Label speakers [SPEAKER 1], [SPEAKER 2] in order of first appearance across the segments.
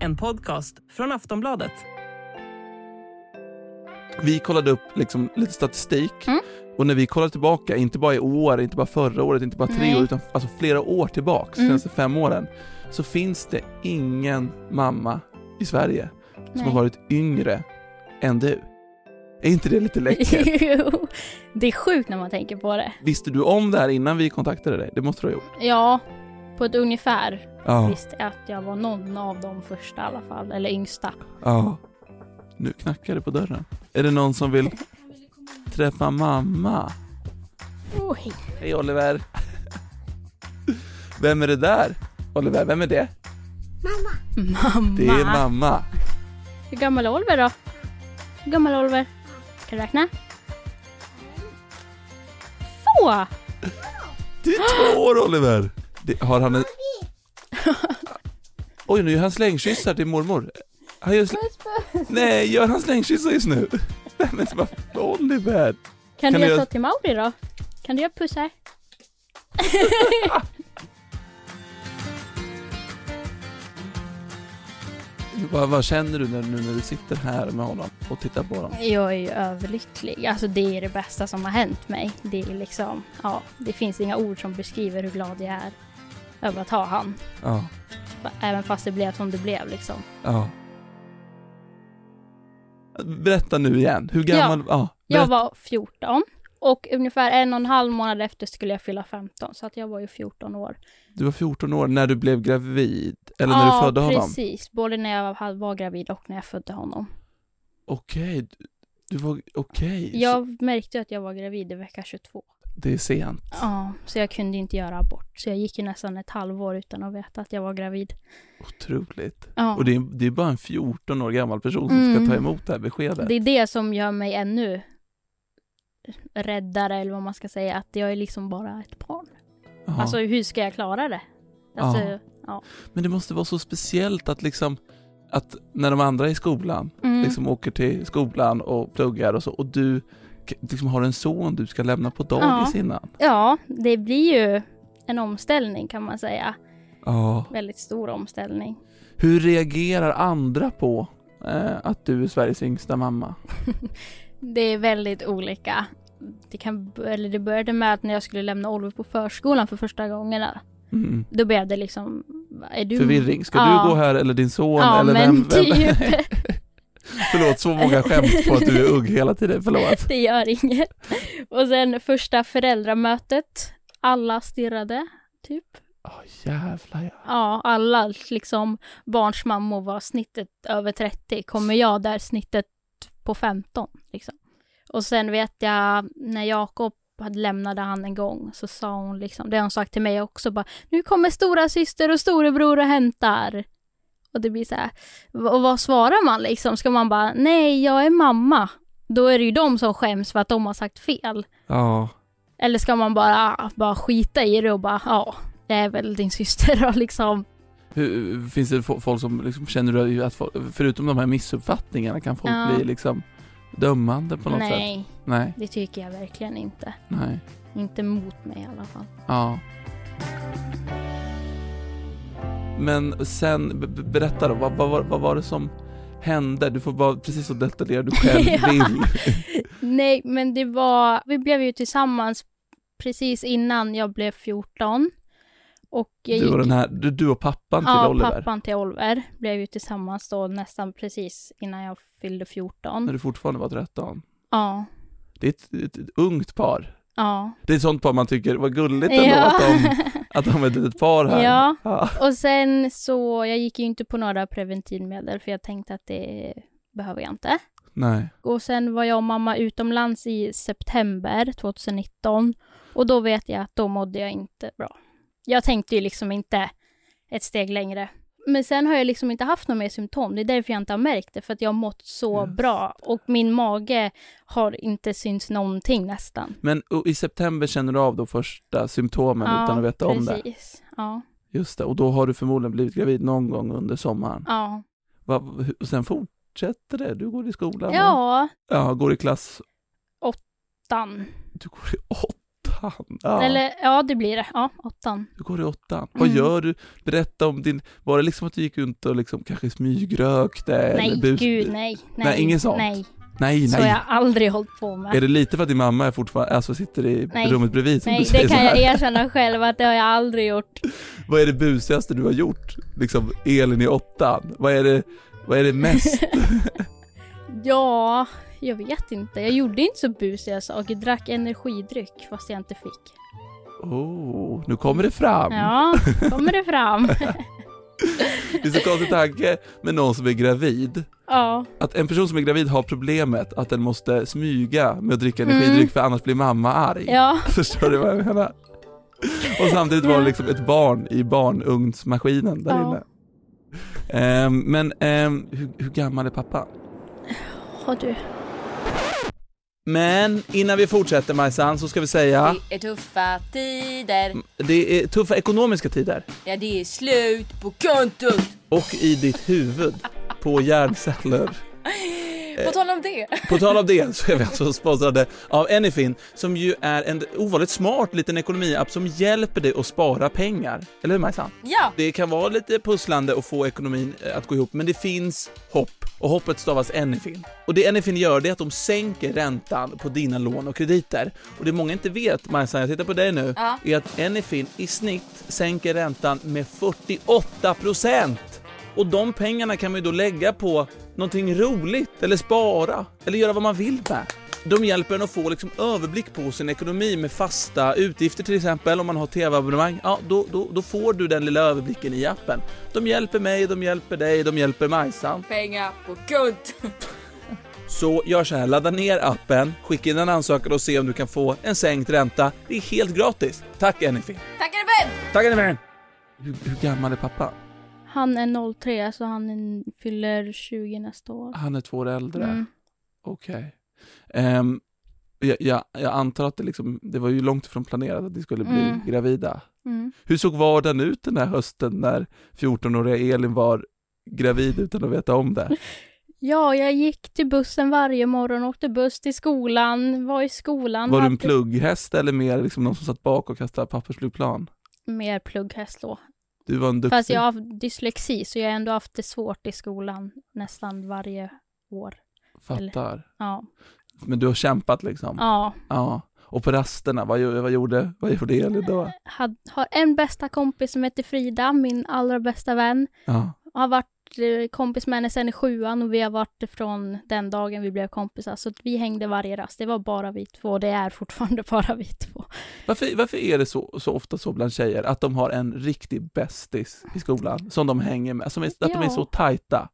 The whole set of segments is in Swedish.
[SPEAKER 1] En podcast från Aftonbladet.
[SPEAKER 2] Vi kollade upp liksom lite statistik
[SPEAKER 3] Mm.
[SPEAKER 2] och när vi kollar tillbaka, inte bara i år, inte bara förra året, inte bara tre
[SPEAKER 3] Nej.
[SPEAKER 2] år, utan alltså flera år tillbaks,
[SPEAKER 3] Mm.
[SPEAKER 2] senaste fem åren, så finns det ingen mamma i Sverige som
[SPEAKER 3] Nej.
[SPEAKER 2] har varit yngre än du. Är inte det lite läckert?
[SPEAKER 3] Jo, det är sjukt när man tänker på det.
[SPEAKER 2] Visste du om det här innan vi kontaktade dig? Det måste du ha gjort?
[SPEAKER 3] Ja, på ett ungefär
[SPEAKER 2] Ja.
[SPEAKER 3] visste jag att jag var någon av de första i alla fall, eller yngsta.
[SPEAKER 2] ja. Nu knackar det på dörren. Är det någon som vill träffa mamma?
[SPEAKER 3] Oh, hej.
[SPEAKER 2] Hej Oliver! Vem är det där? Oliver, vem är det?
[SPEAKER 3] Mamma!
[SPEAKER 2] Det är mamma.
[SPEAKER 3] Hur gammal är Oliver då? Hur gammal är Oliver? Kan du räkna? Två!
[SPEAKER 2] Du är två år Oliver! Det, har han en... Oj, nu gör han slängkyssar till mormor. Han gör sl... Nej, gör han slängkyssar just nu? Nej men vad... Oliver!
[SPEAKER 3] Kan,
[SPEAKER 2] Kan
[SPEAKER 3] du
[SPEAKER 2] du
[SPEAKER 3] göra
[SPEAKER 2] göra-
[SPEAKER 3] så till Mauri då? Kan du göra pussar?
[SPEAKER 2] Vad, vad känner du när, nu när du sitter här med honom och tittar på honom?
[SPEAKER 3] Jag är ju överlycklig. Alltså det är det bästa som har hänt mig. Det är liksom, ja, det finns inga ord som beskriver hur glad jag är över att ha han.
[SPEAKER 2] Ja,
[SPEAKER 3] Även fast det blev som det blev liksom.
[SPEAKER 2] ja. Berätta nu igen, hur gammal... Ja,
[SPEAKER 3] Jag
[SPEAKER 2] berätta.
[SPEAKER 3] var 14 och ungefär en och en halv månad efter skulle jag fylla 15 så att jag var ju 14 år.
[SPEAKER 2] Du var 14 år när du blev gravid, eller när du födde honom?
[SPEAKER 3] precis. Både när jag var, var gravid och när jag födde honom.
[SPEAKER 2] Okej, du- du var... Okej, så
[SPEAKER 3] Jag märkte att jag var gravid i vecka 22.
[SPEAKER 2] det är sent.
[SPEAKER 3] Ja, så jag kunde inte göra abort. Så jag gick ju nästan ett halvår utan att veta att jag var gravid.
[SPEAKER 2] Otroligt.
[SPEAKER 3] Ja.
[SPEAKER 2] Och det är, det är bara en 14 år gammal person som
[SPEAKER 3] Mm.
[SPEAKER 2] ska ta emot det här beskedet.
[SPEAKER 3] Det är det som gör mig ännu räddare, eller vad man ska säga, att jag är liksom bara ett barn.
[SPEAKER 2] Ja.
[SPEAKER 3] Alltså hur ska jag klara det? Alltså,
[SPEAKER 2] Ja. Men det måste vara så speciellt att liksom att när de andra är i skolan,
[SPEAKER 3] mm,
[SPEAKER 2] liksom åker till skolan och pluggar och så och du k- liksom har en son du ska lämna på dagis innan.
[SPEAKER 3] ja, det blir ju en omställning kan man säga.
[SPEAKER 2] Ja.
[SPEAKER 3] Väldigt stor omställning.
[SPEAKER 2] Hur reagerar andra på eh, att du är Sveriges yngsta mamma?
[SPEAKER 3] Det är väldigt olika. Det, kan, eller det började med att när jag skulle lämna Oliver på förskolan för första gångerna,
[SPEAKER 2] Mm.
[SPEAKER 3] då blev det liksom, är du...
[SPEAKER 2] Förvirring, ska
[SPEAKER 3] Ja.
[SPEAKER 2] du gå här eller din son
[SPEAKER 3] Ja,
[SPEAKER 2] eller
[SPEAKER 3] men
[SPEAKER 2] vem? vem?
[SPEAKER 3] typ.
[SPEAKER 2] Förlåt, så många skämt på att du är ung hela tiden, förlåt.
[SPEAKER 3] Det gör inget. Och sen första föräldramötet, alla stirrade, typ.
[SPEAKER 2] Oh, jävlar ja.
[SPEAKER 3] Ja, alla liksom barns mammor var snittet över 30. Kommer jag där snittet på 15 liksom. Och sen vet jag när Jakob hade lämnade han en gång så sa hon liksom, det har hon sagt till mig också bara, nu kommer stora syster och storebror och hämtar. Och det blir så här, v- och vad svarar man liksom? Ska man bara, nej jag är mamma. Då är det ju de som skäms för att de har sagt fel.
[SPEAKER 2] Ja.
[SPEAKER 3] Eller ska man bara, "Ah, bara skita i det och bara, ja, jag är väl din syster och liksom
[SPEAKER 2] Hur, finns det fo- folk som liksom, känner du att folk, förutom de här missuppfattningarna kan folk
[SPEAKER 3] Ja.
[SPEAKER 2] bli liksom dömande på något sätt?
[SPEAKER 3] Nej,
[SPEAKER 2] Nej.
[SPEAKER 3] det tycker jag verkligen inte.
[SPEAKER 2] Nej.
[SPEAKER 3] Inte mot mig i alla fall.
[SPEAKER 2] Ja. Men sen, b- b- berätta då, vad, vad, vad, vad var det som hände? Du får vara precis så detaljerad du själv
[SPEAKER 3] Ja.
[SPEAKER 2] vill.
[SPEAKER 3] Nej, men det var, vi blev ju tillsammans precis innan jag blev 14. Och jag
[SPEAKER 2] Du och,
[SPEAKER 3] gick,
[SPEAKER 2] den här, du, du och pappan
[SPEAKER 3] ja,
[SPEAKER 2] till Oliver.
[SPEAKER 3] pappan till Oliver blev ju tillsammans då nästan precis innan jag fyllde 14.
[SPEAKER 2] När du fortfarande var 13.
[SPEAKER 3] Ja,
[SPEAKER 2] Det är ett, ett, ett ungt par.
[SPEAKER 3] ja.
[SPEAKER 2] Det är ett sånt par man tycker, vad gulligt ändå att, de, att de är ett litet par här.
[SPEAKER 3] ja,
[SPEAKER 2] Ja.
[SPEAKER 3] och sen så, jag gick ju inte på några preventivmedel för jag tänkte att det behöver jag inte.
[SPEAKER 2] Nej.
[SPEAKER 3] Och sen var jag och mamma utomlands i september 2019. Och då vet jag att då mådde jag inte bra. Jag tänkte ju liksom inte ett steg längre. Men sen har jag liksom inte haft några mer symptom. Det är därför jag inte har märkt det. För att jag har mått så
[SPEAKER 2] Just
[SPEAKER 3] bra. Och min mage har inte synts någonting nästan.
[SPEAKER 2] Men och i september känner du av de första symptomen utan att veta om det.
[SPEAKER 3] precis. Ja,
[SPEAKER 2] Just det, och då har du förmodligen blivit gravid någon gång under sommaren.
[SPEAKER 3] ja.
[SPEAKER 2] Va, hu- och sen fortsätter det, du går i skolan? va?
[SPEAKER 3] Ja,
[SPEAKER 2] ja går i klass,
[SPEAKER 3] dan.
[SPEAKER 2] du går i åtta. Fan. Ja.
[SPEAKER 3] Eller ja, det blir det. Ja, åttan.
[SPEAKER 2] Du går i åttan. Vad
[SPEAKER 3] Mm.
[SPEAKER 2] gör du? Berätta om din... Var det liksom att du gick runt och liksom kanske smygrökte?
[SPEAKER 3] Nej,
[SPEAKER 2] eller bus-
[SPEAKER 3] gud nej. Nej,
[SPEAKER 2] Nej, inget sånt.
[SPEAKER 3] Nej,
[SPEAKER 2] Nej,
[SPEAKER 3] så
[SPEAKER 2] nej.
[SPEAKER 3] har jag aldrig hållit på
[SPEAKER 2] Är
[SPEAKER 3] med.
[SPEAKER 2] det lite för att din mamma är fortfarande, alltså sitter i
[SPEAKER 3] Nej.
[SPEAKER 2] rummet bredvid som
[SPEAKER 3] Nej,
[SPEAKER 2] du säger
[SPEAKER 3] det
[SPEAKER 2] så
[SPEAKER 3] kan
[SPEAKER 2] här?
[SPEAKER 3] jag erkänna själv att det har jag aldrig gjort.
[SPEAKER 2] Vad är det busigaste du har gjort? Liksom Elin i åttan. Vad är det, vad är det mest?
[SPEAKER 3] Ja, jag vet inte. Jag gjorde inte så busiga saker. Drack energidryck fast jag inte fick.
[SPEAKER 2] Oh, nu kommer det fram.
[SPEAKER 3] Ja, kommer det fram.
[SPEAKER 2] Det är så konstig tanke med någon som är gravid.
[SPEAKER 3] Ja,
[SPEAKER 2] Att en person som är gravid har problemet att den måste smyga med att dricka energidryck
[SPEAKER 3] Mm.
[SPEAKER 2] för annars blir mamma arg.
[SPEAKER 3] ja,
[SPEAKER 2] Förstår du vad jag menar? Och samtidigt var det liksom ett barn i barnugnsmaskinen där
[SPEAKER 3] Ja.
[SPEAKER 2] inne. Ehm, men ehm, hur, hur gammal är pappa?
[SPEAKER 3] har du.
[SPEAKER 2] Men innan vi fortsätter Majsan så ska vi säga
[SPEAKER 4] Det är tuffa tider.
[SPEAKER 2] det är tuffa ekonomiska tider
[SPEAKER 4] Ja, det är slut på kontot.
[SPEAKER 2] och i ditt huvud på hjärnceller. Eh,
[SPEAKER 4] På tal om det.
[SPEAKER 2] På tal om det så är vi alltså sponsrade av Anyfin som ju är en ovanligt smart liten ekonomiapp som hjälper dig att spara pengar. Eller hur Majsan?
[SPEAKER 4] Ja,
[SPEAKER 2] Det kan vara lite pusslande att få ekonomin eh, att gå ihop, men det finns hopp. Och hoppet stavas Anyfin. Och det Anyfin gör, det är att de sänker räntan på dina lån och krediter. Och det många inte vet, Majsan, jag tittar på dig nu,
[SPEAKER 4] Ja.
[SPEAKER 2] är att Anyfin i snitt sänker räntan med 48 procent! Och de pengarna kan man ju då lägga på någonting roligt, eller spara, eller göra vad man vill med. De hjälper en att få liksom överblick på sin ekonomi med fasta utgifter till exempel om man har tv-abonnemang. Ja, då, då, då får du den lilla överblicken i appen. De hjälper mig, de hjälper dig, de hjälper Majsan.
[SPEAKER 4] pengar på kontot.
[SPEAKER 2] Så gör så här, ladda ner appen, skicka in en ansökan och se om du kan få en sänkt ränta. Det är helt gratis. Tack Anyfin!
[SPEAKER 4] Tackar Ben!
[SPEAKER 2] Tack Anyfin! Hur, hur gammal är pappa?
[SPEAKER 3] Han är 03 så han är- fyller 20 nästa år.
[SPEAKER 2] Han är två år äldre.
[SPEAKER 3] Mm.
[SPEAKER 2] Okej. Ehm, jag, jag, jag antar att det, liksom, det var ju långt ifrån planerat att ni skulle bli
[SPEAKER 3] Mm.
[SPEAKER 2] gravida.
[SPEAKER 3] Mm.
[SPEAKER 2] Hur såg vardagen ut den här hösten när 14-åriga Elin var gravid utan att veta om det?
[SPEAKER 3] Ja, jag gick till bussen varje morgon, åkte buss till skolan, var i skolan.
[SPEAKER 2] Var du en
[SPEAKER 3] hade-
[SPEAKER 2] plugghäst eller mer liksom någon som satt bak och kastade pappersflygplan?
[SPEAKER 3] Mer plugghäst då.
[SPEAKER 2] Du var en duktig...
[SPEAKER 3] Fast jag har dyslexi så jag har ändå haft det svårt i skolan nästan varje år.
[SPEAKER 2] Fattar.
[SPEAKER 3] Ja,
[SPEAKER 2] Men du har kämpat liksom?
[SPEAKER 3] ja.
[SPEAKER 2] Ja. Och på rasterna, vad, gjo- vad, gjorde, vad gjorde Elin då?
[SPEAKER 3] Had, har en bästa kompis som heter Frida, min allra bästa vän.
[SPEAKER 2] Ja.
[SPEAKER 3] Har varit eh, kompis med henne sedan i sjuan och vi har varit från den dagen vi blev kompisar. Så att vi hängde varje rast. Det var bara vi två. Det är fortfarande bara vi två.
[SPEAKER 2] Varför, varför är det så, så ofta så bland tjejer att de har en riktig bästis i skolan som de hänger med, som är, att de är
[SPEAKER 3] Ja.
[SPEAKER 2] så tajta?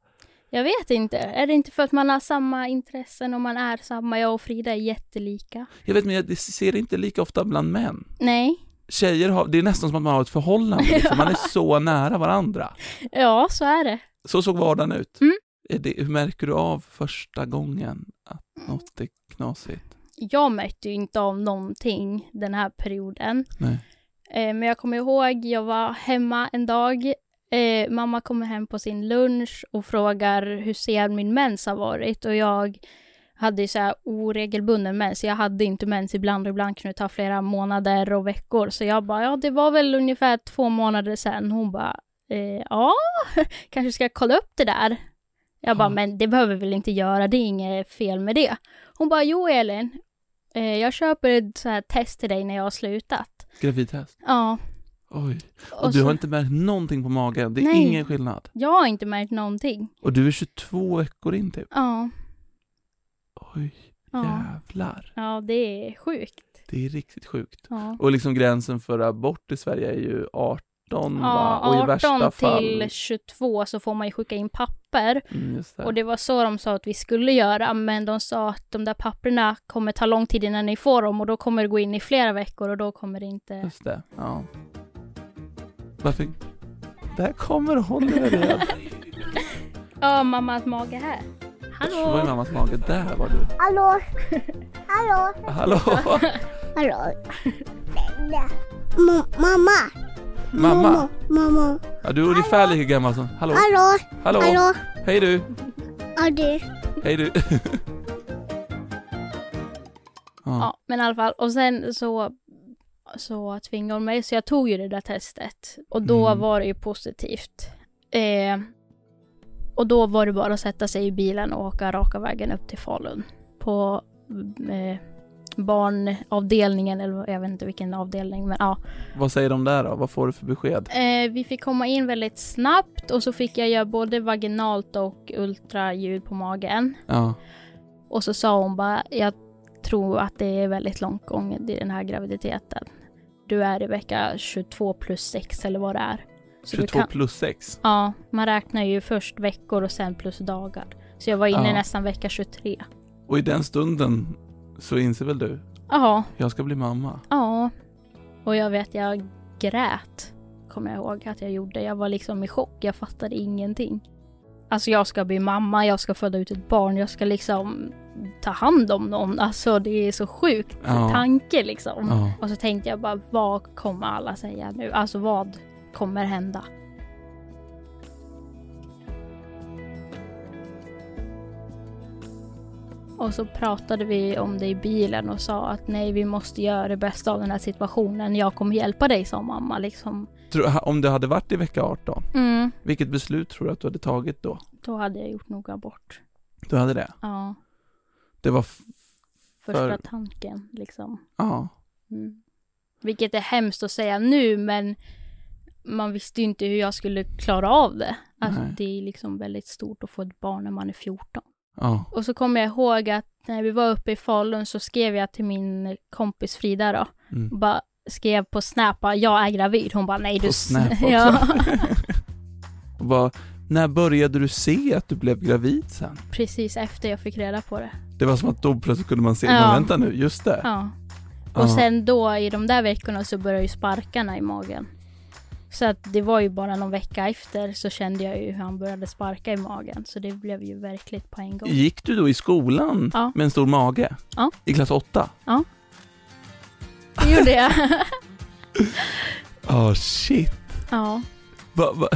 [SPEAKER 3] Jag vet inte. Är det inte för att man har samma intressen och man är samma? Jag och Frida är jättelika.
[SPEAKER 2] Jag vet men jag det ser det inte lika ofta bland män.
[SPEAKER 3] Nej.
[SPEAKER 2] Tjejer har, det är nästan som att man har ett förhållande, liksom. man är så nära varandra.
[SPEAKER 3] Ja, så är det.
[SPEAKER 2] Så såg vardagen ut.
[SPEAKER 3] Mm.
[SPEAKER 2] Är det, hur märker du av första gången att något är knasigt?
[SPEAKER 3] Jag märkte ju inte av någonting den här perioden.
[SPEAKER 2] Nej.
[SPEAKER 3] Eh, men jag kommer ihåg, jag var hemma en dag. Eh, mamma kommer hem på sin lunch och frågar hur sen min mens har varit. Och jag hade ju så här oregelbunden mens. Jag hade inte mens ibland och ibland kunde det ta flera månader och veckor. Så jag bara, ja det var väl ungefär två månader sen. Hon bara, eh, ja, kanske ska jag kolla upp det där. Jag bara,
[SPEAKER 2] Ja.
[SPEAKER 3] men det behöver vi väl inte göra, det är inget fel med det. Hon bara, jo Elin, eh, jag köper ett så här test till dig när jag har slutat.
[SPEAKER 2] Gravidtest?
[SPEAKER 3] Ja.
[SPEAKER 2] Oj.
[SPEAKER 3] Och
[SPEAKER 2] Och, du har
[SPEAKER 3] så-
[SPEAKER 2] inte märkt någonting på magen, det är
[SPEAKER 3] Nej.
[SPEAKER 2] ingen skillnad.
[SPEAKER 3] Jag har inte märkt någonting.
[SPEAKER 2] Och du är 22 veckor in typ.
[SPEAKER 3] Ja.
[SPEAKER 2] Oj,
[SPEAKER 3] Ja,
[SPEAKER 2] jävlar.
[SPEAKER 3] ja det är sjukt.
[SPEAKER 2] Det är riktigt sjukt.
[SPEAKER 3] Ja.
[SPEAKER 2] Och liksom gränsen för abort i Sverige är ju 18 va? Och i
[SPEAKER 3] Ja,
[SPEAKER 2] värsta
[SPEAKER 3] 18
[SPEAKER 2] fall...
[SPEAKER 3] till 22 så får man ju skicka in papper.
[SPEAKER 2] Mm, just det.
[SPEAKER 3] Och det var så de sa att vi skulle göra, men de sa att de där papperna kommer ta lång tid innan ni får dem och då kommer det gå in i flera veckor och då kommer det inte...
[SPEAKER 2] Just det, ja. Varför? Där kommer Oliver igen.
[SPEAKER 3] Ja, mammas mage här.
[SPEAKER 2] Det var i
[SPEAKER 3] Hallå!
[SPEAKER 2] mammas mage. Där var du.
[SPEAKER 5] Hallå? Hallå?
[SPEAKER 2] Hallå!
[SPEAKER 5] Hallå? Ma- mamma?
[SPEAKER 2] Mamma!
[SPEAKER 5] Mamma?
[SPEAKER 2] Ja, du är ungefär lika gammal som... Hallå!
[SPEAKER 5] Hallå?
[SPEAKER 2] Hallå!
[SPEAKER 5] Hallå?
[SPEAKER 2] Hej du!
[SPEAKER 5] Ja du?
[SPEAKER 2] Hej du! ja.
[SPEAKER 3] Ja, men i alla fall. Och sen så så tvingade hon mig, så jag tog ju det där testet. Och då
[SPEAKER 2] Mm.
[SPEAKER 3] var det ju positivt. Eh, och då var det bara att sätta sig i bilen och åka raka vägen upp till Falun. På eh, barnavdelningen, eller jag vet inte vilken avdelning, men ja.
[SPEAKER 2] Vad säger de där då? Vad får du för besked?
[SPEAKER 3] Eh, vi fick komma in väldigt snabbt och så fick jag göra både vaginalt och ultraljud på magen.
[SPEAKER 2] Ja.
[SPEAKER 3] Och så sa hon bara, jag tror att det är väldigt långt gången i den här graviditeten. Du är i vecka 22 plus 6 eller vad det är. Så du
[SPEAKER 2] 22
[SPEAKER 3] kan-
[SPEAKER 2] plus 6.
[SPEAKER 3] Ja, man räknar ju först veckor och sen plus dagar. Så jag var inne
[SPEAKER 2] Ja.
[SPEAKER 3] nästan vecka 23.
[SPEAKER 2] Och i den stunden så inser väl du,
[SPEAKER 3] Ja,
[SPEAKER 2] jag ska bli mamma.
[SPEAKER 3] ja. Och jag vet, jag grät. Kommer jag ihåg att jag gjorde. Jag var liksom i chock. Jag fattade ingenting. Alltså jag ska bli mamma, jag ska föda ut ett barn, jag ska liksom ta hand om någon. Alltså det är så sjukt
[SPEAKER 2] Ja.
[SPEAKER 3] tanke liksom.
[SPEAKER 2] Ja.
[SPEAKER 3] Och så tänkte jag bara, vad kommer alla säga nu? Alltså vad kommer hända? Och så pratade vi om det i bilen och sa att nej, vi måste göra det bästa av den här situationen. Jag kommer hjälpa dig, sa mamma liksom.
[SPEAKER 2] Tror- Om du hade varit i vecka 18,
[SPEAKER 3] Mm.
[SPEAKER 2] vilket beslut tror du att du hade tagit då?
[SPEAKER 3] Då hade jag gjort nog abort.
[SPEAKER 2] Du hade det?
[SPEAKER 3] Ja,
[SPEAKER 2] Det var, f-
[SPEAKER 3] första
[SPEAKER 2] För-
[SPEAKER 3] tanken liksom.
[SPEAKER 2] ja.
[SPEAKER 3] Mm. Vilket är hemskt att säga nu, men man visste ju inte hur jag skulle klara av det. Alltså,
[SPEAKER 2] Nej.
[SPEAKER 3] det är liksom väldigt stort att få ett barn när man är 14.
[SPEAKER 2] Ja.
[SPEAKER 3] Och så kommer jag ihåg att när vi var uppe i Falun så skrev jag till min kompis Frida då.
[SPEAKER 2] Mm.
[SPEAKER 3] Och bara skrev på Snap, bara, jag är gravid. Hon bara, nej du...
[SPEAKER 2] På
[SPEAKER 3] s-"
[SPEAKER 2] Snap också.
[SPEAKER 3] Ja,
[SPEAKER 2] Och bara, när började du se att du blev gravid sen?
[SPEAKER 3] precis efter jag fick reda på det.
[SPEAKER 2] Det var som att då plötsligt kunde man se,
[SPEAKER 3] Ja.
[SPEAKER 2] men vänta nu, just det.
[SPEAKER 3] Ja.
[SPEAKER 2] Ja.
[SPEAKER 3] Och sen då i de där veckorna så började ju sparkarna i magen. Så att det var ju bara någon vecka efter så kände jag ju hur han började sparka i magen. Så det blev ju verkligt på en gång.
[SPEAKER 2] Gick du då i skolan
[SPEAKER 3] Ja.
[SPEAKER 2] med en stor mage?
[SPEAKER 3] Ja.
[SPEAKER 2] I klass 8?
[SPEAKER 3] Det gjorde jag.
[SPEAKER 2] Ah shit.
[SPEAKER 3] ja.
[SPEAKER 2] Va, va?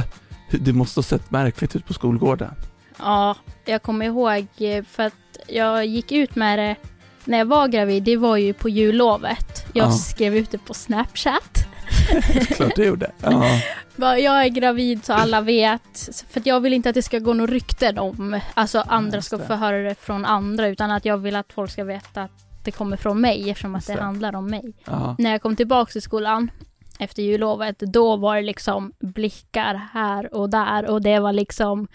[SPEAKER 2] Det måste ha sett märkligt ut på skolgården.
[SPEAKER 3] ja, jag kommer ihåg eh, för att jag gick ut med det när jag var gravid. Det var ju på jullovet. Jag
[SPEAKER 2] Ja.
[SPEAKER 3] skrev ut det på Snapchat.
[SPEAKER 2] Klart du gjorde. Ja.
[SPEAKER 3] Bara, Jag är gravid så alla vet. För att jag vill inte att det ska gå någon rykten om, alltså andra
[SPEAKER 2] just
[SPEAKER 3] ska
[SPEAKER 2] det.
[SPEAKER 3] få höra det från andra, utan att jag vill att folk ska veta att det kommer från mig eftersom att
[SPEAKER 2] Just
[SPEAKER 3] det
[SPEAKER 2] det.
[SPEAKER 3] handlar om mig.
[SPEAKER 2] Ja.
[SPEAKER 3] När jag kom tillbaka till skolan efter jullovet, då var det liksom blickar här och där och det var liksom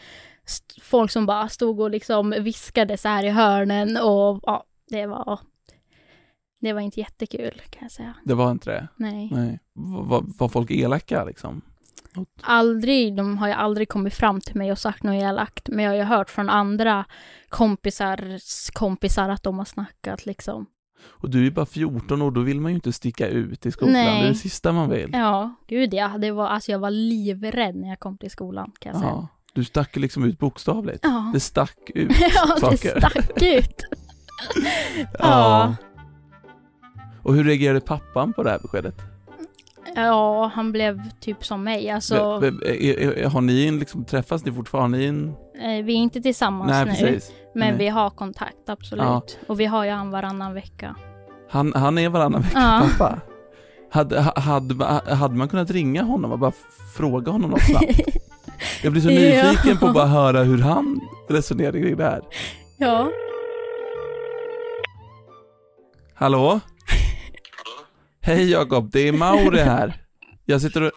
[SPEAKER 3] st- folk som bara stod och liksom viskade så här i hörnen och ja, det var det var inte jättekul kan jag säga.
[SPEAKER 2] Det var inte det?
[SPEAKER 3] Nej.
[SPEAKER 2] Nej. Va- va- var folk elaka liksom?
[SPEAKER 3] aldrig, de har ju aldrig kommit fram till mig och sagt något elakt, men jag har ju hört från andra kompisars kompisar att de har snackat liksom.
[SPEAKER 2] Och du är ju bara 14 år, då vill man ju inte sticka ut i skolan.
[SPEAKER 3] Nej.
[SPEAKER 2] Det är det sista man vill.
[SPEAKER 3] Ja, gud ja, det var, alltså jag var livrädd när jag kom till skolan kan jag säga.
[SPEAKER 2] Ja. Du stack liksom ut bokstavligt.
[SPEAKER 3] Ja,
[SPEAKER 2] Det stack ut.
[SPEAKER 3] ja det
[SPEAKER 2] saker.
[SPEAKER 3] stack ut. Ja.
[SPEAKER 2] Och hur reagerade pappan på det här beskedet?
[SPEAKER 3] Ja, han blev typ som mig, alltså
[SPEAKER 2] V- v- är- är- Har ni en, liksom, träffas ni fortfarande? Har ni en...
[SPEAKER 3] eh, vi är inte tillsammans
[SPEAKER 2] Nej,
[SPEAKER 3] nu,
[SPEAKER 2] precis.
[SPEAKER 3] men
[SPEAKER 2] Nej.
[SPEAKER 3] vi har kontakt absolut.
[SPEAKER 2] Ja.
[SPEAKER 3] Och vi har ju han varannan vecka.
[SPEAKER 2] Han, han är varannan vecka
[SPEAKER 3] Ja.
[SPEAKER 2] pappa. Hade, ha- hade, ma- hade man kunnat ringa honom och bara f- fråga honom något snabbt? Jag blir så
[SPEAKER 3] Ja.
[SPEAKER 2] nyfiken på att bara höra hur han resonerade kring det här.
[SPEAKER 3] Ja.
[SPEAKER 2] Hallå? Hej Jakob, det är Mauri här. Jag sitter och,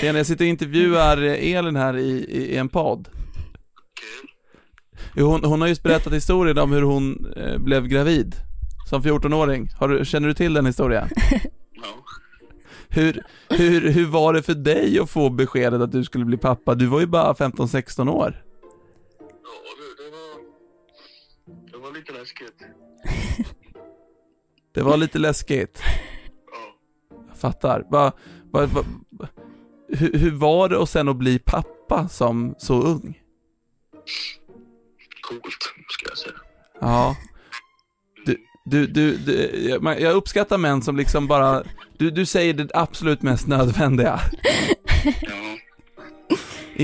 [SPEAKER 2] Tjena, jag sitter och intervjuar eh, Elin här i, i, i en podd. Jo, Hon, hon har just berättat historien om hur hon eh, blev gravid som 14-åring. Har du, känner du till den historien?
[SPEAKER 6] Ja.
[SPEAKER 2] Hur, hur, hur var det för dig att få beskedet att du skulle bli pappa? Du var ju bara 15-16 år.
[SPEAKER 6] Ja, du, det var... Det var lite läskigt.
[SPEAKER 2] Det var lite läskigt.
[SPEAKER 6] Ja.
[SPEAKER 2] Jag fattar. Va, va, va, hur, hur var det och sen att bli pappa som så ung?
[SPEAKER 6] Coolt, ska jag säga.
[SPEAKER 2] Ja. Du, du, du, du jag- man- jag uppskattar män som liksom bara, du, du säger det absolut mest nödvändiga.
[SPEAKER 6] Ja.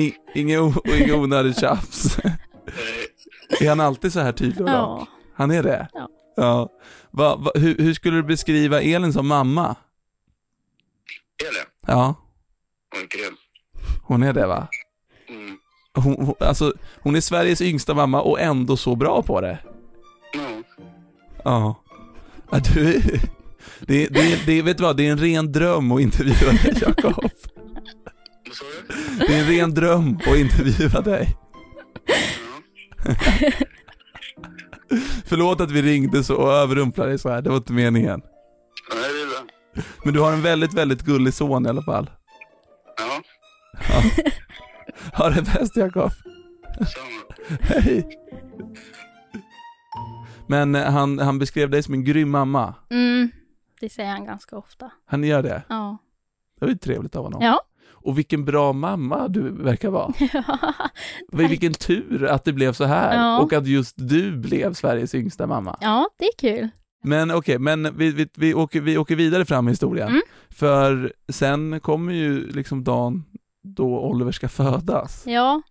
[SPEAKER 2] I- Inget o- och inget onödigt tjafs.
[SPEAKER 6] Eh,
[SPEAKER 2] Är han alltid så här tydlig och rak?
[SPEAKER 3] ja.
[SPEAKER 2] Han är det?
[SPEAKER 3] Ja.
[SPEAKER 2] ja. Va, va, hur, hur skulle du beskriva Elin som mamma? Ja,
[SPEAKER 6] Hon är grym.
[SPEAKER 2] hon är det va?
[SPEAKER 6] Mm.
[SPEAKER 2] Hon, hon, alltså, hon är Sveriges yngsta mamma och ändå så bra på det.
[SPEAKER 6] Ja.
[SPEAKER 2] Ja. ja du, det, det, det, vet du vad, det är en ren dröm att intervjua dig Jakob.
[SPEAKER 6] Vad sa du?
[SPEAKER 2] Det är en ren dröm att intervjua dig.
[SPEAKER 6] Ja.
[SPEAKER 2] Förlåt att vi ringde så och överrumplade dig så här, det var inte meningen.
[SPEAKER 6] Ja, det är bra.
[SPEAKER 2] Men du har en väldigt, väldigt gullig son i alla fall.
[SPEAKER 6] Ja.
[SPEAKER 2] Ha det bäst Jakob.
[SPEAKER 6] Samma.
[SPEAKER 2] Hej. Men eh, han, han beskrev dig som en grym mamma.
[SPEAKER 3] Mm, det säger han ganska ofta.
[SPEAKER 2] Han gör det.
[SPEAKER 3] Ja.
[SPEAKER 2] Det var ju trevligt av honom.
[SPEAKER 3] Ja.
[SPEAKER 2] Och vilken bra mamma du verkar vara. Vil- Vilken tur att det blev så här
[SPEAKER 3] Ja.
[SPEAKER 2] och att just du blev Sveriges yngsta mamma.
[SPEAKER 3] ja, det är kul.
[SPEAKER 2] Men okej, men vi, vi, vi, åker, vi åker vidare fram i historien.
[SPEAKER 3] Mm.
[SPEAKER 2] För sen kommer ju liksom dagen då Oliver ska födas.
[SPEAKER 3] Ja.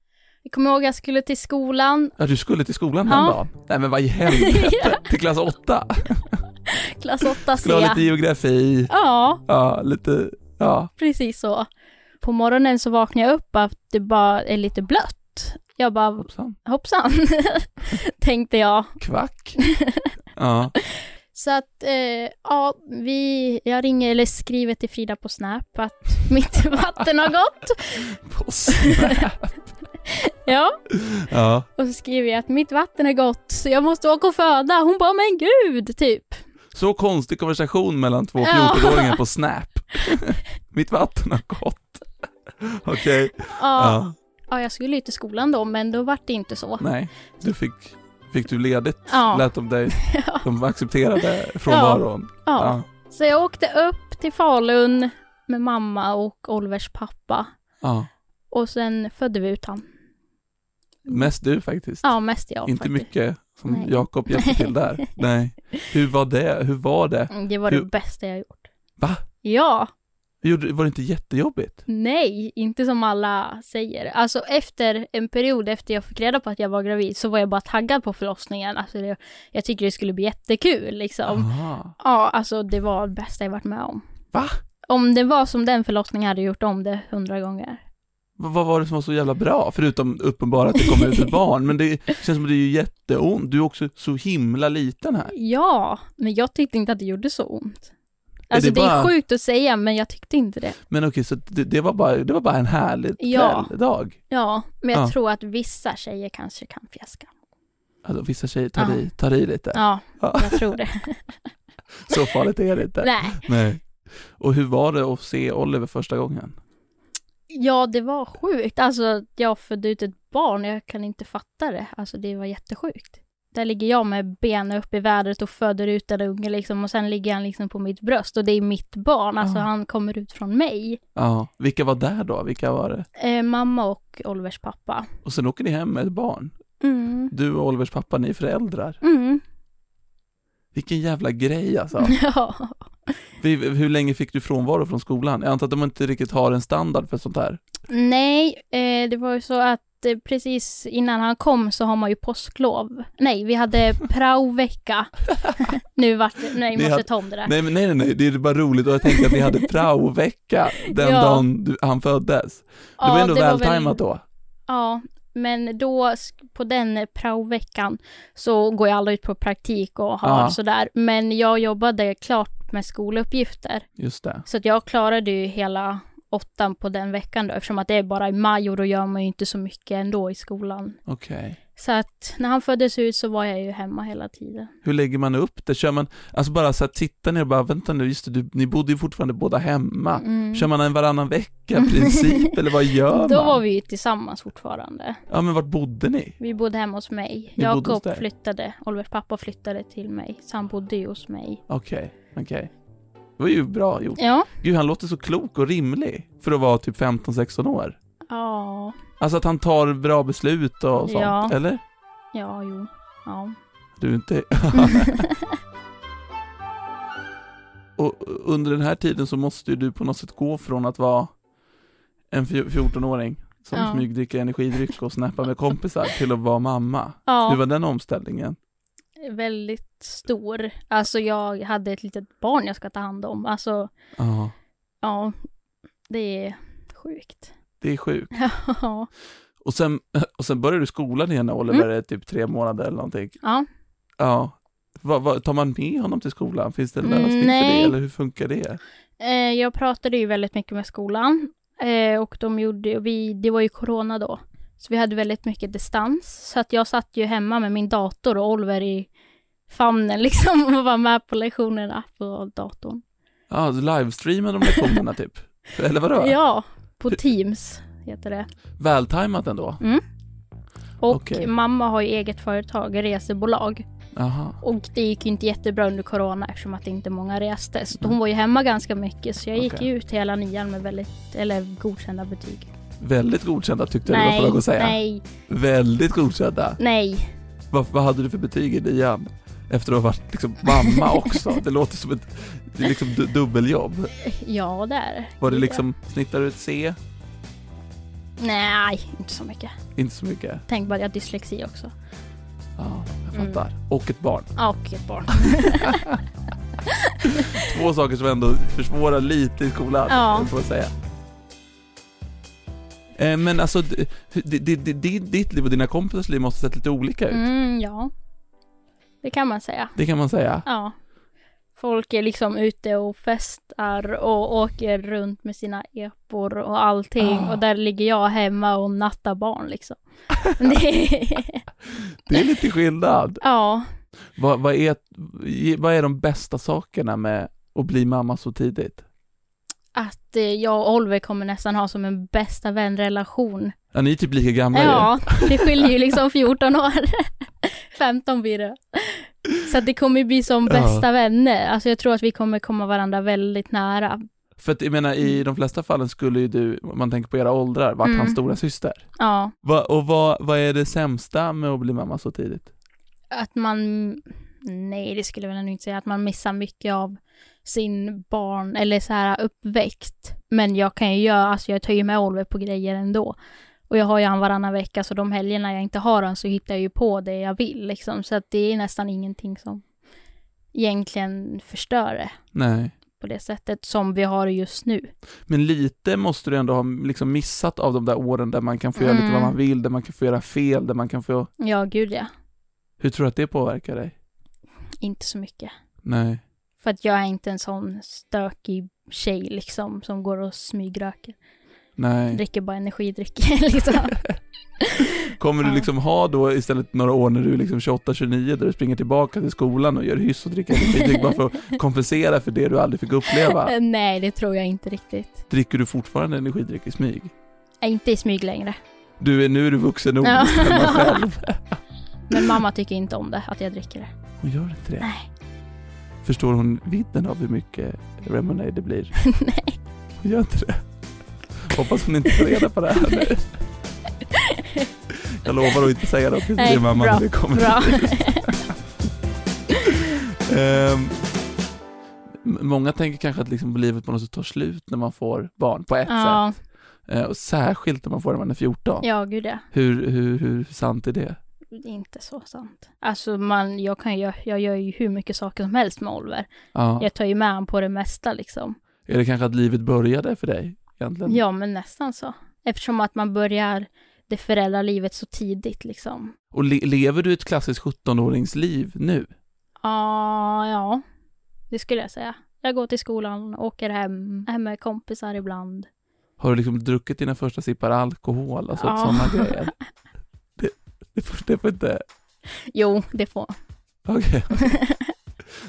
[SPEAKER 3] Jag kommer ihåg jag skulle till skolan,
[SPEAKER 2] Ja, du skulle till skolan den
[SPEAKER 3] Ja.
[SPEAKER 2] dagen. Nej men vad i helvete, till klass åtta.
[SPEAKER 3] klass 8 C.
[SPEAKER 2] Skulle ha lite geografi,
[SPEAKER 3] Ja,
[SPEAKER 2] ja lite, ja.
[SPEAKER 3] precis så. På morgonen så vaknade jag upp att det bara är lite blött. Jag bara,
[SPEAKER 2] Hoppsan.
[SPEAKER 3] hoppsan, tänkte jag.
[SPEAKER 2] Kvack. Ja,
[SPEAKER 3] Så att, eh, ja, vi, jag ringer eller skriver till Frida på Snap att mitt vatten har gått.
[SPEAKER 2] på Snap.
[SPEAKER 3] Ja,
[SPEAKER 2] Ja,
[SPEAKER 3] och så skriver jag att mitt vatten har gått så jag måste åka och föda. Hon bara, men gud, typ.
[SPEAKER 2] så konstig konversation mellan två
[SPEAKER 3] Ja.
[SPEAKER 2] 14-åringar på Snap. Mitt vatten har gått. Okej,
[SPEAKER 3] Ja,
[SPEAKER 2] ja.
[SPEAKER 3] ja jag skulle ju till skolan då, men då vart det inte så.
[SPEAKER 2] Nej, du fick, fick du ledigt,
[SPEAKER 3] Ja.
[SPEAKER 2] lät de dig, de accepterade frånvaron.
[SPEAKER 3] Ja. Så jag åkte upp till Falun med mamma och Olivers pappa.
[SPEAKER 2] Ja.
[SPEAKER 3] Och sen födde vi ut han.
[SPEAKER 2] Mest du faktiskt.
[SPEAKER 3] Ja, mest jag
[SPEAKER 2] Inte
[SPEAKER 3] faktiskt.
[SPEAKER 2] mycket som
[SPEAKER 3] Nej.
[SPEAKER 2] Jakob hjälpte till där. Nej. Hur var det? Hur var det?
[SPEAKER 3] Mm, Det var
[SPEAKER 2] Hur-
[SPEAKER 3] det bästa jag gjort.
[SPEAKER 2] Va?
[SPEAKER 3] Ja,
[SPEAKER 2] Gjorde- Var det inte jättejobbigt?
[SPEAKER 3] nej, inte som alla säger. Alltså efter en period efter jag fick reda på att jag var gravid så var jag bara taggad på förlossningen. Alltså det, jag tycker det skulle bli jättekul liksom.
[SPEAKER 2] Aha.
[SPEAKER 3] Ja, alltså det var det bästa jag varit med om.
[SPEAKER 2] Va?
[SPEAKER 3] Om det var som den förlossningen hade jag gjort om det hundra gånger.
[SPEAKER 2] V- Vad var det som var så jävla bra? Förutom uppenbara att det kommer ut ett barn, men det känns som att det är ju jätteont. Du är också så himla liten här.
[SPEAKER 3] Ja, men jag tyckte inte att det gjorde så ont.
[SPEAKER 2] Är
[SPEAKER 3] Alltså
[SPEAKER 2] det
[SPEAKER 3] det,
[SPEAKER 2] bara-
[SPEAKER 3] är sjukt att säga, men jag tyckte inte det.
[SPEAKER 2] Men okej, så det, det, var bara, det var bara en härlig
[SPEAKER 3] Ja.
[SPEAKER 2] kväll, dag.
[SPEAKER 3] Ja, men jag
[SPEAKER 2] Ja.
[SPEAKER 3] tror att vissa tjejer kanske kan fjäska.
[SPEAKER 2] Alltså, vissa tjejer tar,
[SPEAKER 3] Ja.
[SPEAKER 2] i, tar i lite.
[SPEAKER 3] Ja,
[SPEAKER 2] Ja.
[SPEAKER 3] jag tror det.
[SPEAKER 2] Så farligt är det inte.
[SPEAKER 3] Nej,
[SPEAKER 2] Nej. Och hur var det att se Oliver första gången?
[SPEAKER 3] ja det var sjukt. Alltså jag födde ut ett barn, jag kan inte fatta det. Alltså det var jättesjukt. Där ligger jag med benen upp i vädret och föder ut en unge liksom och sen ligger han liksom på mitt bröst och det är mitt barn, alltså
[SPEAKER 2] Ja.
[SPEAKER 3] han kommer ut från mig.
[SPEAKER 2] Ja, vilka var där då? Vilka var det?
[SPEAKER 3] Eh, mamma och Olivers pappa.
[SPEAKER 2] Och sen åker ni hem med ett barn.
[SPEAKER 3] Mm.
[SPEAKER 2] Du och Olivers pappa, ni är föräldrar.
[SPEAKER 3] Mm.
[SPEAKER 2] Vilken jävla grej alltså.
[SPEAKER 3] Ja.
[SPEAKER 2] Vi, hur länge fick du frånvaro från skolan? Jag antar att de inte riktigt har en standard för sånt här.
[SPEAKER 3] Nej, eh, det var ju så att eh, precis innan han kom så har man ju påsklov. Nej, vi hade praovecka. nu vart det, nej,
[SPEAKER 2] Ni
[SPEAKER 3] vi måste
[SPEAKER 2] hade-
[SPEAKER 3] ta om det där.
[SPEAKER 2] Nej, men nej, nej, nej, det är bara roligt och jag tänkte att ni hade praovecka den
[SPEAKER 3] Ja.
[SPEAKER 2] dagen du, han föddes. Det var ändå vältajmat då.
[SPEAKER 3] Ja, men då sk- på den praoveckan så går jag alla ut på praktik och har
[SPEAKER 2] Ja.
[SPEAKER 3] sådär. Men jag jobbade klart med skoluppgifter.
[SPEAKER 2] Just det.
[SPEAKER 3] Så att jag klarade ju hela åttan på den veckan då, eftersom att det är bara i maj och då gör man ju inte så mycket ändå i skolan.
[SPEAKER 2] Okej.
[SPEAKER 3] Så att när han föddes ut så var jag ju hemma hela tiden.
[SPEAKER 2] Hur lägger man upp det? Kör man, alltså bara så här, tittar ni och bara, vänta nu, just det, du, ni bodde ju fortfarande båda hemma.
[SPEAKER 3] Mm.
[SPEAKER 2] Kör man en varannan vecka-princip, eller vad gör
[SPEAKER 3] Då
[SPEAKER 2] man?
[SPEAKER 3] var vi ju tillsammans fortfarande.
[SPEAKER 2] Ja, men vart bodde ni?
[SPEAKER 3] Vi bodde hemma hos mig.
[SPEAKER 2] Ni bodde hos
[SPEAKER 3] Jakob
[SPEAKER 2] dig?
[SPEAKER 3] flyttade, Olivers pappa flyttade till mig, så han bodde ju hos mig.
[SPEAKER 2] Okej, okej. Det var ju bra gjort.
[SPEAKER 3] Ja.
[SPEAKER 2] Gud, han låter så klok och rimlig för att vara typ 15-16 år.
[SPEAKER 3] Ja.
[SPEAKER 2] Alltså att han tar bra beslut och sånt,
[SPEAKER 3] Ja.
[SPEAKER 2] eller?
[SPEAKER 3] Ja, jo. Ja.
[SPEAKER 2] Du är inte... och under den här tiden så måste ju du på något sätt gå från att vara en fj- 14-åring som
[SPEAKER 3] Ja.
[SPEAKER 2] smygdricker energidryck och snappar med kompisar till att vara mamma. Hur
[SPEAKER 3] Ja,
[SPEAKER 2] var den omställningen?
[SPEAKER 3] väldigt stor. Alltså jag hade ett litet barn jag ska ta hand om. Alltså,
[SPEAKER 2] Ja.
[SPEAKER 3] ja. Det är sjukt.
[SPEAKER 2] Det är sjukt.
[SPEAKER 3] Ja.
[SPEAKER 2] Och sen, och sen börjar du skolan igen när
[SPEAKER 3] Mm.
[SPEAKER 2] Oliver är typ tre månader eller någonting.
[SPEAKER 3] ja.
[SPEAKER 2] Ja. Vad- vad- tar man med honom till skolan? Finns det en
[SPEAKER 3] Mm,
[SPEAKER 2] lösning för det?
[SPEAKER 3] nej.
[SPEAKER 2] Eller hur funkar det?
[SPEAKER 3] Eh, Jag pratade ju väldigt mycket med skolan eh, och de gjorde, och vi, det var ju corona då, så vi hade väldigt mycket distans. Så att jag satt ju hemma med min dator och Oliver i famnen liksom och var med på lektionerna på datorn.
[SPEAKER 2] Ja, så livestreamar de lektionerna typ? Eller vadå?
[SPEAKER 3] Ja, på Teams heter det.
[SPEAKER 2] Vältajmat ändå?
[SPEAKER 3] Och
[SPEAKER 2] Okej.
[SPEAKER 3] mamma har ju eget företag, resebolag.
[SPEAKER 2] Jaha.
[SPEAKER 3] Och det gick ju inte jättebra under corona eftersom att inte många reste. Så hon var ju hemma ganska mycket så jag gick
[SPEAKER 2] Mm. Okej.
[SPEAKER 3] ju ut hela nian med väldigt, eller godkända betyg.
[SPEAKER 2] Väldigt godkända tyckte du
[SPEAKER 3] nej,
[SPEAKER 2] var på väg att säga.
[SPEAKER 3] nej,
[SPEAKER 2] Väldigt godkända.
[SPEAKER 3] nej.
[SPEAKER 2] Vad, vad hade du för betyg i nian? Efter att ha varit liksom mamma också. Det låter som ett det är liksom du, dubbeljobb.
[SPEAKER 3] Ja, det är det.
[SPEAKER 2] Var det liksom, snittade du ett C?
[SPEAKER 3] Nej, inte så mycket.
[SPEAKER 2] Inte så mycket.
[SPEAKER 3] Tänk bara, jag har dyslexi också.
[SPEAKER 2] Ja, jag
[SPEAKER 3] Mm.
[SPEAKER 2] fattar. Och ett barn.
[SPEAKER 3] Ja, Och ett barn.
[SPEAKER 2] Två saker som ändå försvårar lite i skolan,
[SPEAKER 3] Ja.
[SPEAKER 2] får jag säga. Eh, Men alltså, d- hur- di- di- di- di- ditt liv och dina kompisars liv måste ha sett lite olika ut.
[SPEAKER 3] Mm, ja. Det kan man säga.
[SPEAKER 2] Det kan man säga.
[SPEAKER 3] Ja. Folk är liksom ute och festar och åker runt med sina epor och allting.
[SPEAKER 2] Ah.
[SPEAKER 3] Och där ligger jag hemma och nattar barn liksom. det är...
[SPEAKER 2] Det är lite skillnad.
[SPEAKER 3] Ja.
[SPEAKER 2] Vad, vad, är, vad är de bästa sakerna med att bli mamma så tidigt?
[SPEAKER 3] Att eh, jag och Oliver kommer nästan ha som en bästa vänrelation.
[SPEAKER 2] Ja, ni är typ lika gamla ju.
[SPEAKER 3] Ja, det skiljer ju liksom 14 år. 15 blir det. Så att det kommer ju bli som
[SPEAKER 2] Ja.
[SPEAKER 3] bästa vänner. Alltså jag tror att vi kommer komma varandra väldigt nära.
[SPEAKER 2] För att jag menar, i de flesta fallen skulle ju du, om man tänker på era åldrar, varit
[SPEAKER 3] Mm.
[SPEAKER 2] hans stora syster.
[SPEAKER 3] Ja,
[SPEAKER 2] Va, och vad, vad är det sämsta med att bli mamma så tidigt?
[SPEAKER 3] att man... Nej, det skulle jag väl ändå inte säga. Att man missar mycket av sin barn eller så här uppväxt. Men jag kan ju göra, alltså jag tar ju med Oliver på grejer ändå. Och jag har ju han varannan vecka så de helgerna jag inte har han så hittar jag ju på det jag vill liksom. Så att det är nästan ingenting som egentligen förstör det.
[SPEAKER 2] Nej.
[SPEAKER 3] på det sättet som vi har det just nu.
[SPEAKER 2] Men lite måste du ändå ha liksom missat av de där åren där man kan få göra lite
[SPEAKER 3] Mm.
[SPEAKER 2] vad man vill, där man kan få göra fel, där man kan få...
[SPEAKER 3] Ja, gud ja.
[SPEAKER 2] Hur tror du att det påverkar dig?
[SPEAKER 3] Inte så mycket.
[SPEAKER 2] Nej.
[SPEAKER 3] För att jag är inte en sån stökig tjej liksom som går och smygröker.
[SPEAKER 2] Nej.
[SPEAKER 3] Dricker bara energidryck liksom.
[SPEAKER 2] Kommer du
[SPEAKER 3] Ja.
[SPEAKER 2] liksom ha då istället några år när du är liksom 28-29 där du springer tillbaka till skolan och gör hyss och dricker energidryck bara för att kompensera för det du aldrig fick uppleva?
[SPEAKER 3] Nej, det tror jag inte riktigt.
[SPEAKER 2] Dricker du fortfarande energidryck i smyg?
[SPEAKER 3] Jag är inte i smyg längre.
[SPEAKER 2] Du är, nu är du vuxen nog
[SPEAKER 3] Ja.
[SPEAKER 2] att bestämma själv.
[SPEAKER 3] Men mamma tycker inte om det, att jag dricker det.
[SPEAKER 2] Hon gör inte det.
[SPEAKER 3] Nej.
[SPEAKER 2] Förstår hon vidden av hur mycket Lemonade det blir?
[SPEAKER 3] Nej.
[SPEAKER 2] Hon gör inte det. Hoppas hon inte får reda på det här nu. Jag lovar att inte säga något till
[SPEAKER 3] Nej,
[SPEAKER 2] din mamma
[SPEAKER 3] bra,
[SPEAKER 2] när det kommer
[SPEAKER 3] Bra.
[SPEAKER 2] Ehm, m- många tänker kanske att liksom livet på något sätt tar slut när man får barn på ett sätt.
[SPEAKER 3] ja.
[SPEAKER 2] Eh, och särskilt när man får det när man är 14.
[SPEAKER 3] ja, gud ja.
[SPEAKER 2] Hur, hur, hur sant är det?
[SPEAKER 3] Det är inte så sant. Alltså man, jag kan ju, jag gör ju hur mycket saker som helst med Oliver.
[SPEAKER 2] Ja.
[SPEAKER 3] Jag tar ju med honom på det mesta liksom.
[SPEAKER 2] Är det kanske att livet började för dig egentligen?
[SPEAKER 3] Ja, men nästan så. Eftersom att man börjar det föräldralivet så tidigt liksom.
[SPEAKER 2] Och le- lever du ett klassiskt 17-åringsliv nu?
[SPEAKER 3] Ah, ja, det skulle jag säga. Jag går till skolan, åker hem, är med kompisar ibland.
[SPEAKER 2] Har du liksom druckit dina första sippar alkohol? Alltså
[SPEAKER 3] Ja.
[SPEAKER 2] sådana grejer. Det, det, får, det får inte...
[SPEAKER 3] Jo, det får
[SPEAKER 2] Okej.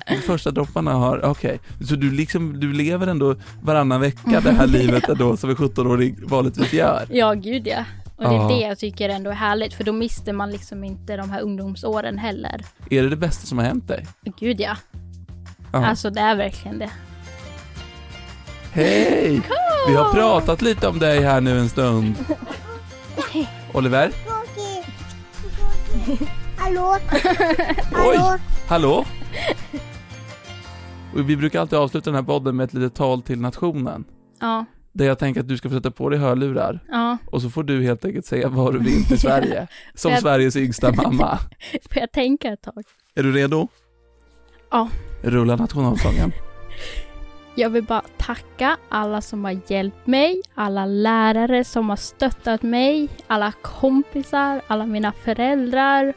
[SPEAKER 2] De första dropparna har... Okej. Så du, liksom, du lever ändå varannan vecka det här livet ändå som en 17-åring vanligtvis gör?
[SPEAKER 3] Ja, gud ja. Och det är
[SPEAKER 2] Ja.
[SPEAKER 3] det jag tycker ändå är härligt, för då mister man liksom inte de här ungdomsåren heller.
[SPEAKER 2] Är det det bästa som har hänt dig?
[SPEAKER 3] Gud ja.
[SPEAKER 2] Ja.
[SPEAKER 3] Alltså det är verkligen det.
[SPEAKER 2] Hej! Vi har pratat lite om dig här nu en stund. Oliver?
[SPEAKER 5] Cookie. Cookie. Hallå?
[SPEAKER 2] Oj!
[SPEAKER 5] Hallå?
[SPEAKER 2] Hallå? Och vi brukar alltid avsluta den här podden med ett litet tal till nationen.
[SPEAKER 3] Ja,
[SPEAKER 2] Där jag tänker att du ska få sätta på dig hörlurar
[SPEAKER 3] ja.
[SPEAKER 2] och så får du helt enkelt säga vad du vill till Sverige. Som
[SPEAKER 3] Jag-
[SPEAKER 2] Sveriges yngsta mamma.
[SPEAKER 3] Får jag tänka ett tag?
[SPEAKER 2] Är du redo?
[SPEAKER 3] Ja.
[SPEAKER 2] Rulla nationalsången.
[SPEAKER 3] Jag vill bara tacka alla som har hjälpt mig, alla lärare som har stöttat mig, alla kompisar, alla mina föräldrar.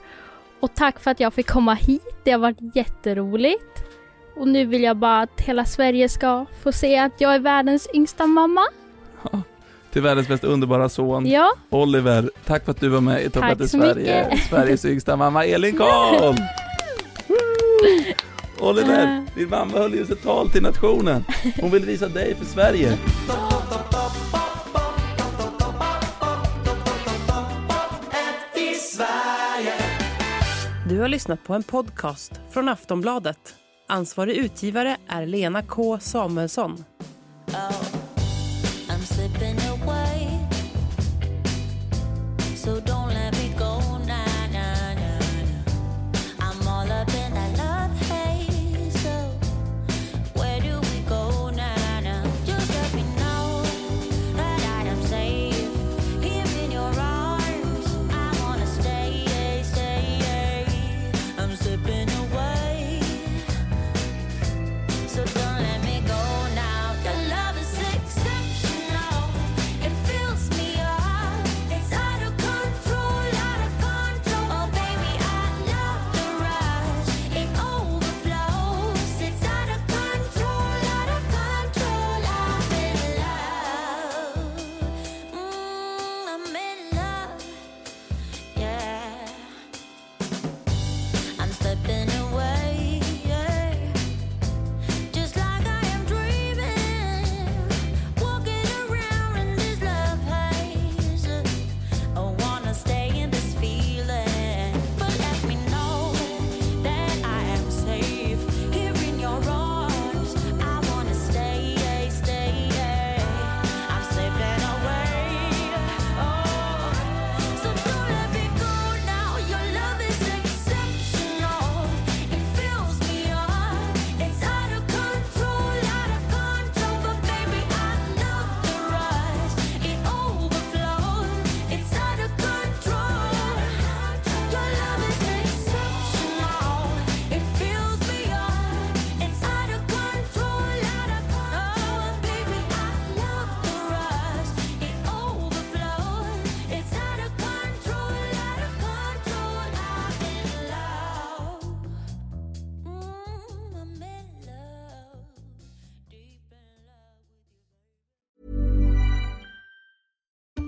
[SPEAKER 3] Och tack för att jag fick komma hit, det har varit jätteroligt. Och nu vill jag bara att hela Sverige ska få se att jag är världens yngsta mamma.
[SPEAKER 2] Till världens mest underbara son,
[SPEAKER 3] Ja,
[SPEAKER 2] Oliver. Tack för att du var med i Topp
[SPEAKER 3] Tack
[SPEAKER 2] 1 i
[SPEAKER 3] så
[SPEAKER 2] Sverige.
[SPEAKER 3] mycket.
[SPEAKER 2] Sveriges yngsta mamma, Elin Karl! Woo! Oliver, din mamma höll just ett tal till nationen. Hon vill visa dig för Sverige.
[SPEAKER 1] Du har lyssnat på en podcast från Aftonbladet. Ansvarig utgivare är Lena K Samuelsson.
[SPEAKER 7] I'm slipping away. So don't let me go. Nah, nah, nah, nah. I'm all up in that love haze. So where do we go? Nah, nah. Just let me know that I am safe. Here in your arms, I wanna stay, stay. I'm slipping away. So don't let me go now. Your love is exceptional. It fills me up. It's out of control, out of control. Oh baby, I love the rush. It overflows. It's out of control, out of control. I'm in love. Mm, I'm in love. Yeah. I'm slipping away. Yeah. Just like I am dreaming, walking around in this love haze. I wanna stay in this feeling, but let me know that I am safe here in your arms. I wanna stay, stay. I'm slipping away. Oh, so don't let me go now. Your love is exceptional. It fills me up. It's out of control, out of control. But baby, I love the rush. It overflows. It's out of control. Your love is exceptional. It fills me up. It's out of control, out of control. Baby, I love the rush. It overflows. It's out of control, out of control. I'm in love. Mm, I'm in love, deep in love with you.